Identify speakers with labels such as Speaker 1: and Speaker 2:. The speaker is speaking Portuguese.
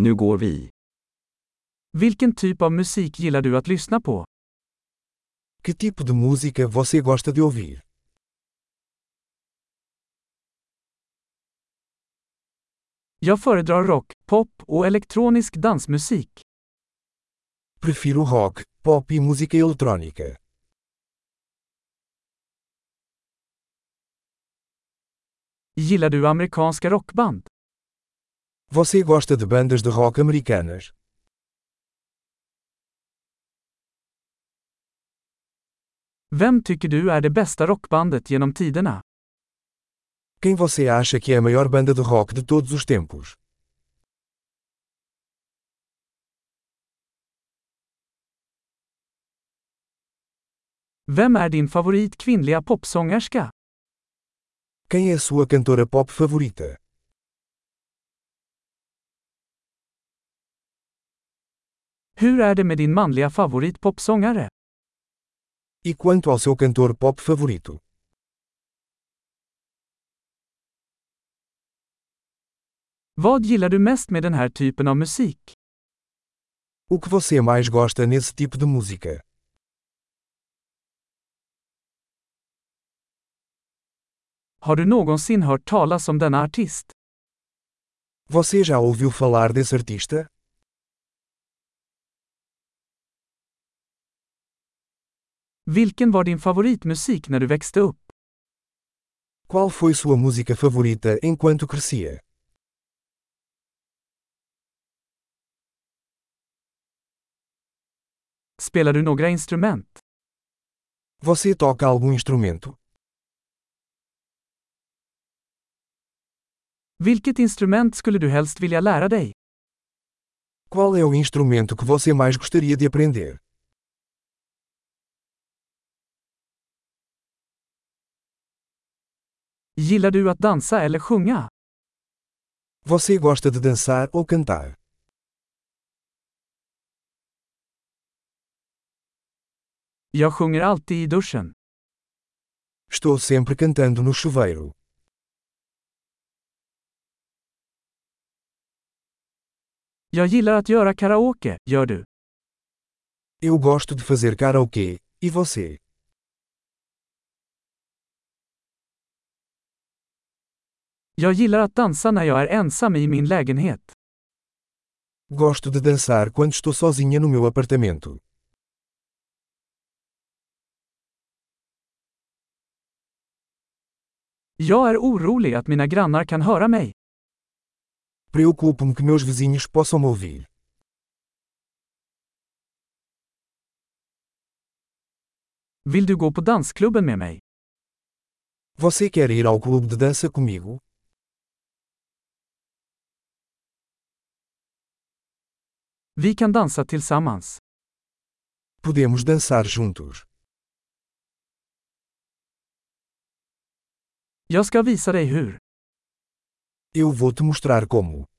Speaker 1: Nu går vi.
Speaker 2: Vilken typ av musik gillar du att lyssna på?
Speaker 3: Que tipo de música você gosta de ouvir?
Speaker 2: Jag föredrar rock, pop och elektronisk dansmusik.
Speaker 3: Prefiro rock, pop e música eletrônica.
Speaker 2: Gillar du amerikanska rockband?
Speaker 3: Você gosta de bandas de rock americanas?
Speaker 2: Vem tycker du är det bästa rockbandet genom tiderna?
Speaker 3: Quem você acha que é a maior banda de rock de todos os tempos?
Speaker 2: Vem är din favorit kvinnliga popsångerska?
Speaker 3: Quem é a sua cantora pop favorita?
Speaker 2: Hur är det med din manliga favorit popsångare?
Speaker 3: E quanto ao seu cantor pop favorito?
Speaker 2: Vad gillar du mest med den här typen av musik?
Speaker 3: O que você mais gosta nesse tipo de música?
Speaker 2: Har du någonsin hört talas om denna artist?
Speaker 3: Você já ouviu falar desse artista?
Speaker 2: Vilken var din favoritmusik när du växte upp?
Speaker 3: Qual foi sua música favorita enquanto crescia?
Speaker 2: Spelar du några instrument?
Speaker 3: Você toca algum instrumento?
Speaker 2: Vilket instrument skulle du helst vilja lära dig?
Speaker 3: Qual é o instrumento que você mais gostaria de aprender?
Speaker 2: Gillar du att dansa eller sjunga?
Speaker 3: Você gosta de dançar ou cantar?
Speaker 2: Jag sjunger alltid i duschen.
Speaker 3: Estou sempre cantando no chuveiro.
Speaker 2: Jag gillar att göra karaoke, gör du?
Speaker 3: Eu gosto de fazer karaokê. E você?
Speaker 2: Jag gillar att dansa när jag är ensam i min lägenhet.
Speaker 3: Gosto de dançar quando estou sozinha no meu apartamento.
Speaker 2: Jag är orolig att mina grannar kan höra mig.
Speaker 3: Preocupo-me que meus vizinhos possam me ouvir.
Speaker 2: Vill du gå på dansklubben med mig?
Speaker 3: Você quer ir ao clube de dança comigo?
Speaker 2: Vi kan dansa tillsammans.
Speaker 3: Podemos dançar juntos.
Speaker 2: Jag ska visa dig hur.
Speaker 3: Eu vou te mostrar como.